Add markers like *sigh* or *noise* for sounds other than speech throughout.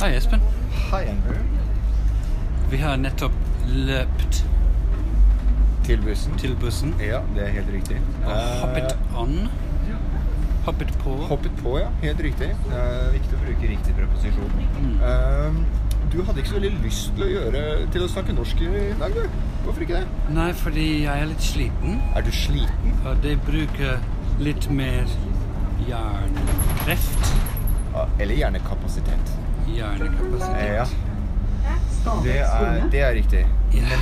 Hei, Espen. Hei, Andrew. Vi har nettopp løpt Til bussen. til bussen Ja, det er helt riktig. og hoppet Eh, an. Hoppet på. hoppet på, ja. Helt riktig. Det er viktig å bruke riktig preposisjon. Mm. Eh, du hadde ikke så veldig lyst til å, gjøre, til å snakke norsk i dag, du. Hvorfor ikke det? Nei, fordi jeg er litt sliten, Er du sliten? og det bruker litt mer hjernekreft. Ja, Eller hjernekapasitet. Eh, Hjernekapasitet. ja. Det er, det er riktig. Ja.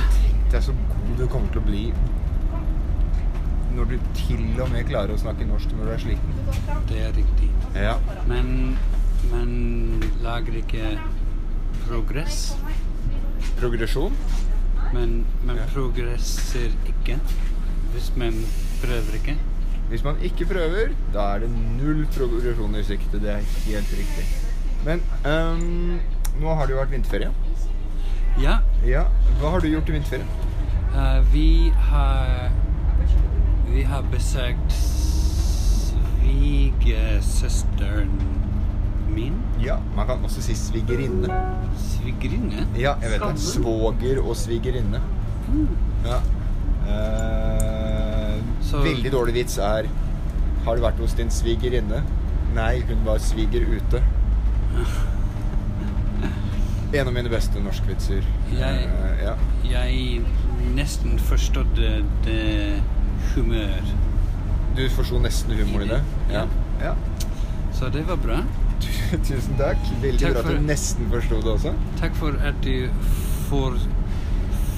Det er så god du kommer til å bli når du til og med klarer å snakke norsk når du er sliten. Det er riktig. Ja. Men man lager ikke progress. Progresjon? Men man Ja. progresser ikke hvis man prøver ikke. Hvis man ikke prøver, da er det null progresjon i sikte. Det er helt riktig. Men ehm, nå har det jo vært vinterferie. Ja, Ja. Hva har du gjort i vinterferien? eh, vi har Vi har besøkt svigersøsteren min. Ja, Man kan også si svigerinne. Svigerinne? Ja, jeg vet det. Svoger og svigerinne. Ja. Eh, Så- Veldig dårlig vits er Har du vært hos din svigerinne? Nei, hun var sviger *laughs* ute. En av mine beste norskvitser. Jeg- Eh, ja. Jeg nesten forstod det humør. Du forsto nesten humoren i det? Ja. ja. Så det var bra. *laughs* Tu- Tusen takk. Veldig Takk bra at for du det. nesten forsto det også. Takk for at du for...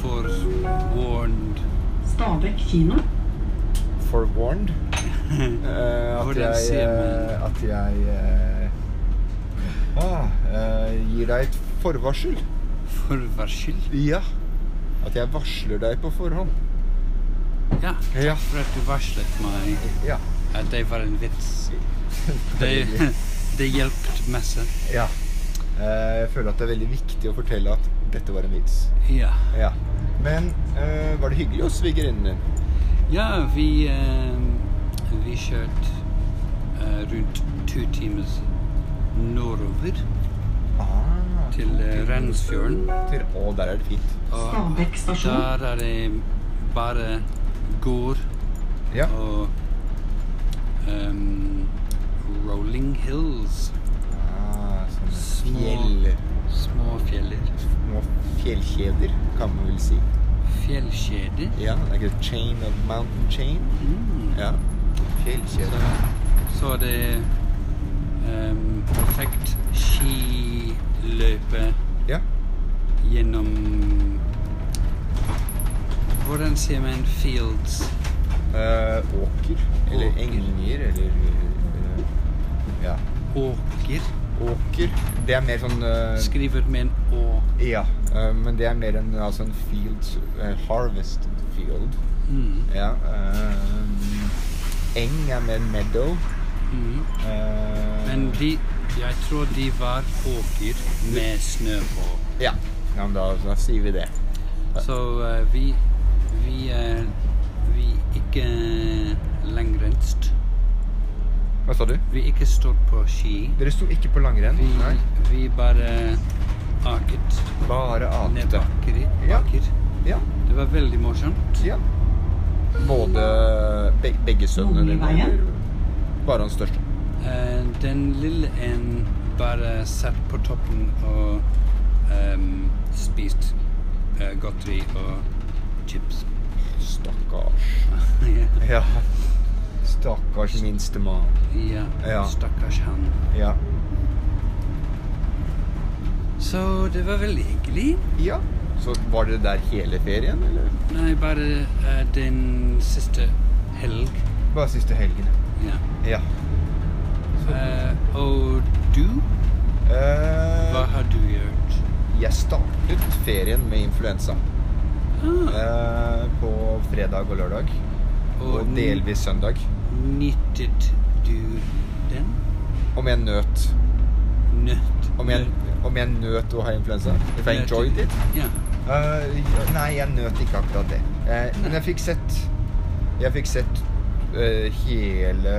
for warned Stabekk kino. *laughs* Forewarned. Eh, at, Hvordan jeg, sier eh, man? at jeg eh, ah, eh, gir deg et forvarsel. For hver skyld. Ja. At jeg varsler deg på forhånd. Ja. Ja. For at du varslet meg Ja. at det var en vits. *laughs* Det, Veldig. det hjelpte masse. ja. Eh, jeg føler at det er veldig viktig å fortelle at dette var en vits. Ja. Ja. Men eh, var det hyggelig hos svigerinnen din? Ja, vi, eh, vi kjørte eh, rundt to timer nordover Ah, til eh, Rensfjorden. til- Å, der er det fint. Og Stabekk stasjon. der er Ah, det bare gård Ja. og em, rolling hills. Ah, Små- sånne fjell... Små fjeller. Små fjellkjeder, kan man vel si. Fjellkjeder. Ja, like a chain of mountain chain. Mm. Ja. Fjellkjeder. Så er det em, perfekt skiløype Ja. gjennom Hvordan sier man fields? Eh, åker. Eller Åker. enger, eller eh, Ja. Åker. Åker. Det er mer sånn eh, Skriver med en å. Ja. eh, men det er mer en, altså en field eh, Harvested field. Mm. Ja. eh, eng er mer meadow. Mm. eh, Men de Jeg tror de var åker med snø på. Ja. ja men da, da sier vi det. Så eh, vi Vi er Vi ikke eh, langrenst. Hva sa du? Vi ikke står på ski. Dere sto ikke på langrenn? Vi, vi bare aket Bare ned akte. bakker. i- Ja. bakker. Ja. Det var veldig morsomt. ja. Både be begge sønnene dine? Mange i veien? eller Bare han største. Eh, Den lille en bare satt på toppen og ehm, spist eh, godteri og chips. *laughs* Stakkars. ja. Ja. Stakkars minstemann. Ja. ja, stakkars han. Ja. Så det var veldig hyggelig. ja. Så var dere der hele ferien, eller? Nei, bare eh, den siste helg. Bare siste helgen. Ja. Ja. Eh, og du? Hva Eh, har du gjort? jeg startet ferien med influensa. Ah, Eh, på fredag og lørdag. Og n- delvis søndag. Nyttet du den? Om jeg nøt Nøtt. Om jeg, om jeg nøt å ha influensa? If I Nøtt. enjoyed it? Ja. Eh, nei, jeg nøt ikke akkurat det. Eh, men jeg fikk sett Jeg fikk sett eh, hele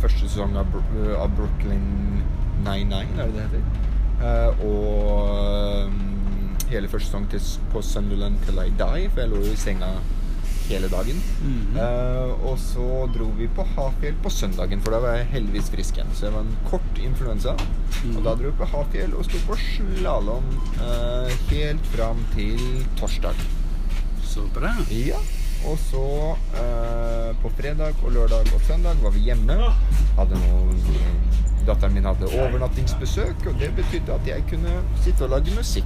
første sesong av, Bro- av Brooklyn eh, Nine-Nine, er det det heter? Eh, og mm, hele første sesong til, s- på Sunderland Till I Die, for jeg lå jo i senga hele dagen. Mhm. Eh, og så dro vi på Hafjell på søndagen, for da var jeg heldigvis frisk igjen. Så det var en kort influensa. Og da dro vi på Hafjell og sto på slalåm helt fram til torsdag. Så bra. Ja. Og så eh, på fredag og lørdag og søndag var vi hjemme. Hadde noen Datteren min hadde overnattingsbesøk, og det betydde at jeg kunne sitte og lage musikk.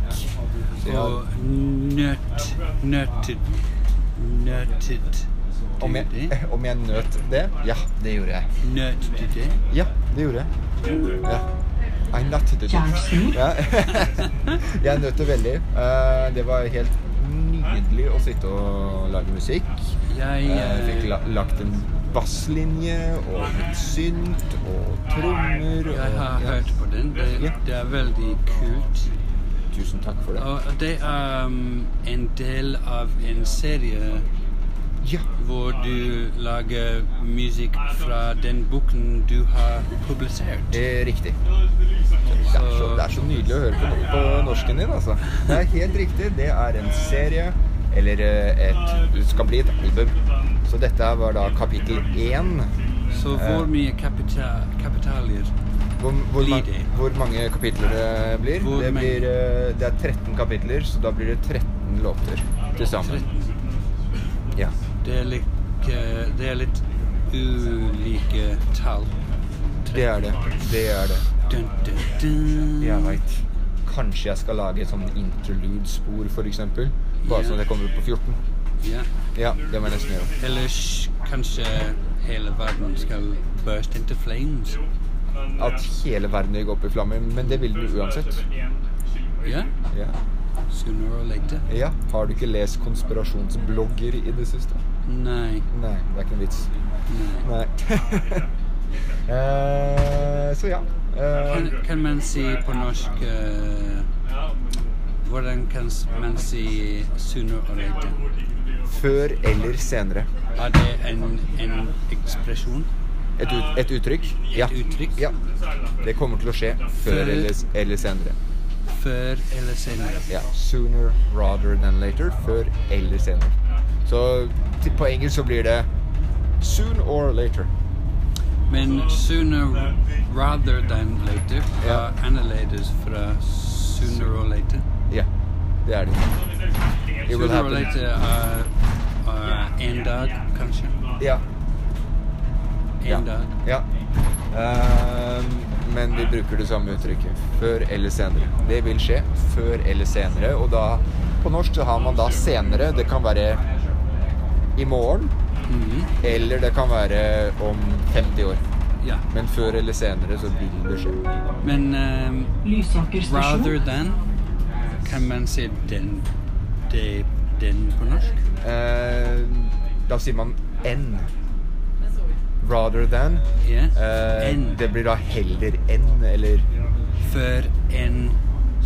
Så jeg, Og nøt, nøtet, nøtet du om, jeg, det? *laughs* om jeg nøt det? Ja, det gjorde jeg. Nøt du det? Ja, det gjorde jeg. Ja. I nutted it. Kjæresten. Ja. *laughs* Jeg nøt det veldig. Eh, Det var helt nydelig å sitte og lage musikk. Jeg Jeg fikk eh, la lagt en basslinje og litt synt og trommer. Og, Jeg har ja. hørt på den. Det, Ja. det er veldig kult. Tusen takk for det. Og det er um, en del av en serie Ja. hvor du lager musikk fra den boken du har publisert. Det er Eh, riktig. Det er, så, det er så nydelig å høre på, no- på norsken din, altså. Det er helt riktig. Det er en serie, eller eh, et Det skal bli et album. Så dette her var da kapittel én. Så hvor Eh. mye kapita kapitalier Hvor, hvor, Blir ma- det? hvor mange kapitler det blir? Hvor Det, mange? blir eh, det er 13 kapitler, så da blir det 13 låter til sammen. 13. Ja. Det er litt, eh, det er litt ulike tall. Det er det. Det er det. Dun, dun, dun. Jeg veit. Kanskje jeg skal lage et sånn interlude-spor, f.eks. Bare Ja. sånn at jeg kommer opp på 14. Ja. Ja, det må jeg nesten gjøre. Ellers kanskje hele verden skal burst into flames. At hele verden vil gå opp i flammer. Men det vil den jo uansett. Ja, Ja. sooner or later. ja. Har du ikke lest konspirasjonsblogger i det siste? Nei, Nei, det er ikke noen vits. nei. Nei. *laughs* eh, så ja. Eh, Kan, kan man si på norsk eh, Hvordan kan s- man si 'sooner or later'? før eller senere. Er det en, en ekspresjon? Et, ut, et uttrykk? Ja. uttrykk? ja. Det kommer til å skje før Før- eller, s- eller senere. Før eller senere? Ja. Sooner rather than later. Før eller senere. Så til, på engelsk så blir det soon or later. Men 'sooner rather than later' Ja. er annerledes fra 'sooner or later'. Ja, det er det. It will Sooner or happen. later er er en dag, kanskje. Ja. ja. En dag. ja. Ehm, men vi bruker det samme uttrykket. Før eller senere. Det vil skje før eller senere, og da På norsk så har man da senere. Det kan være i morgen, Mhm. eller det kan være om 50 år. Ja. Men før eller senere så vil det skje. Men ehm, Lysaker Rather stasjon. than Kan man si den de, Den på norsk? Eh, da sier man enn. Rather than. Ja Eh, Enn Det blir da heller enn, eller før enn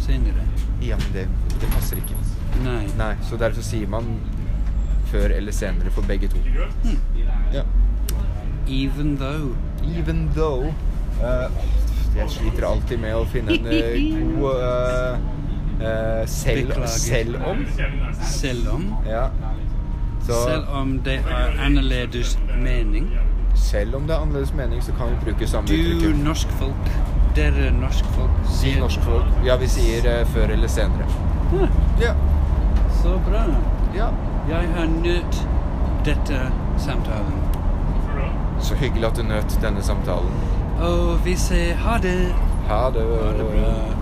senere Ja, men det, det passer ikke. Nei, Nei, så derfor sier man før eller senere for begge to. Ja. Even though Even though eh, Jeg sliter alltid med å finne en eh, god eh, eh, selv, Beklager. selv om. Selv om Ja. Så Selv om det er annerledes mening selv om det er annerledes mening, så kan vi bruke samme Du uttrykk. norsk folk Dere norsk folk Si sier- norsk folk. Ja, vi sier eh, før eller senere. Ja, Ja. Så bra ja. Jeg har nødt dette samtalen Så hyggelig at du nøt denne samtalen. Og vi sier ha det Ha det. Ha det bra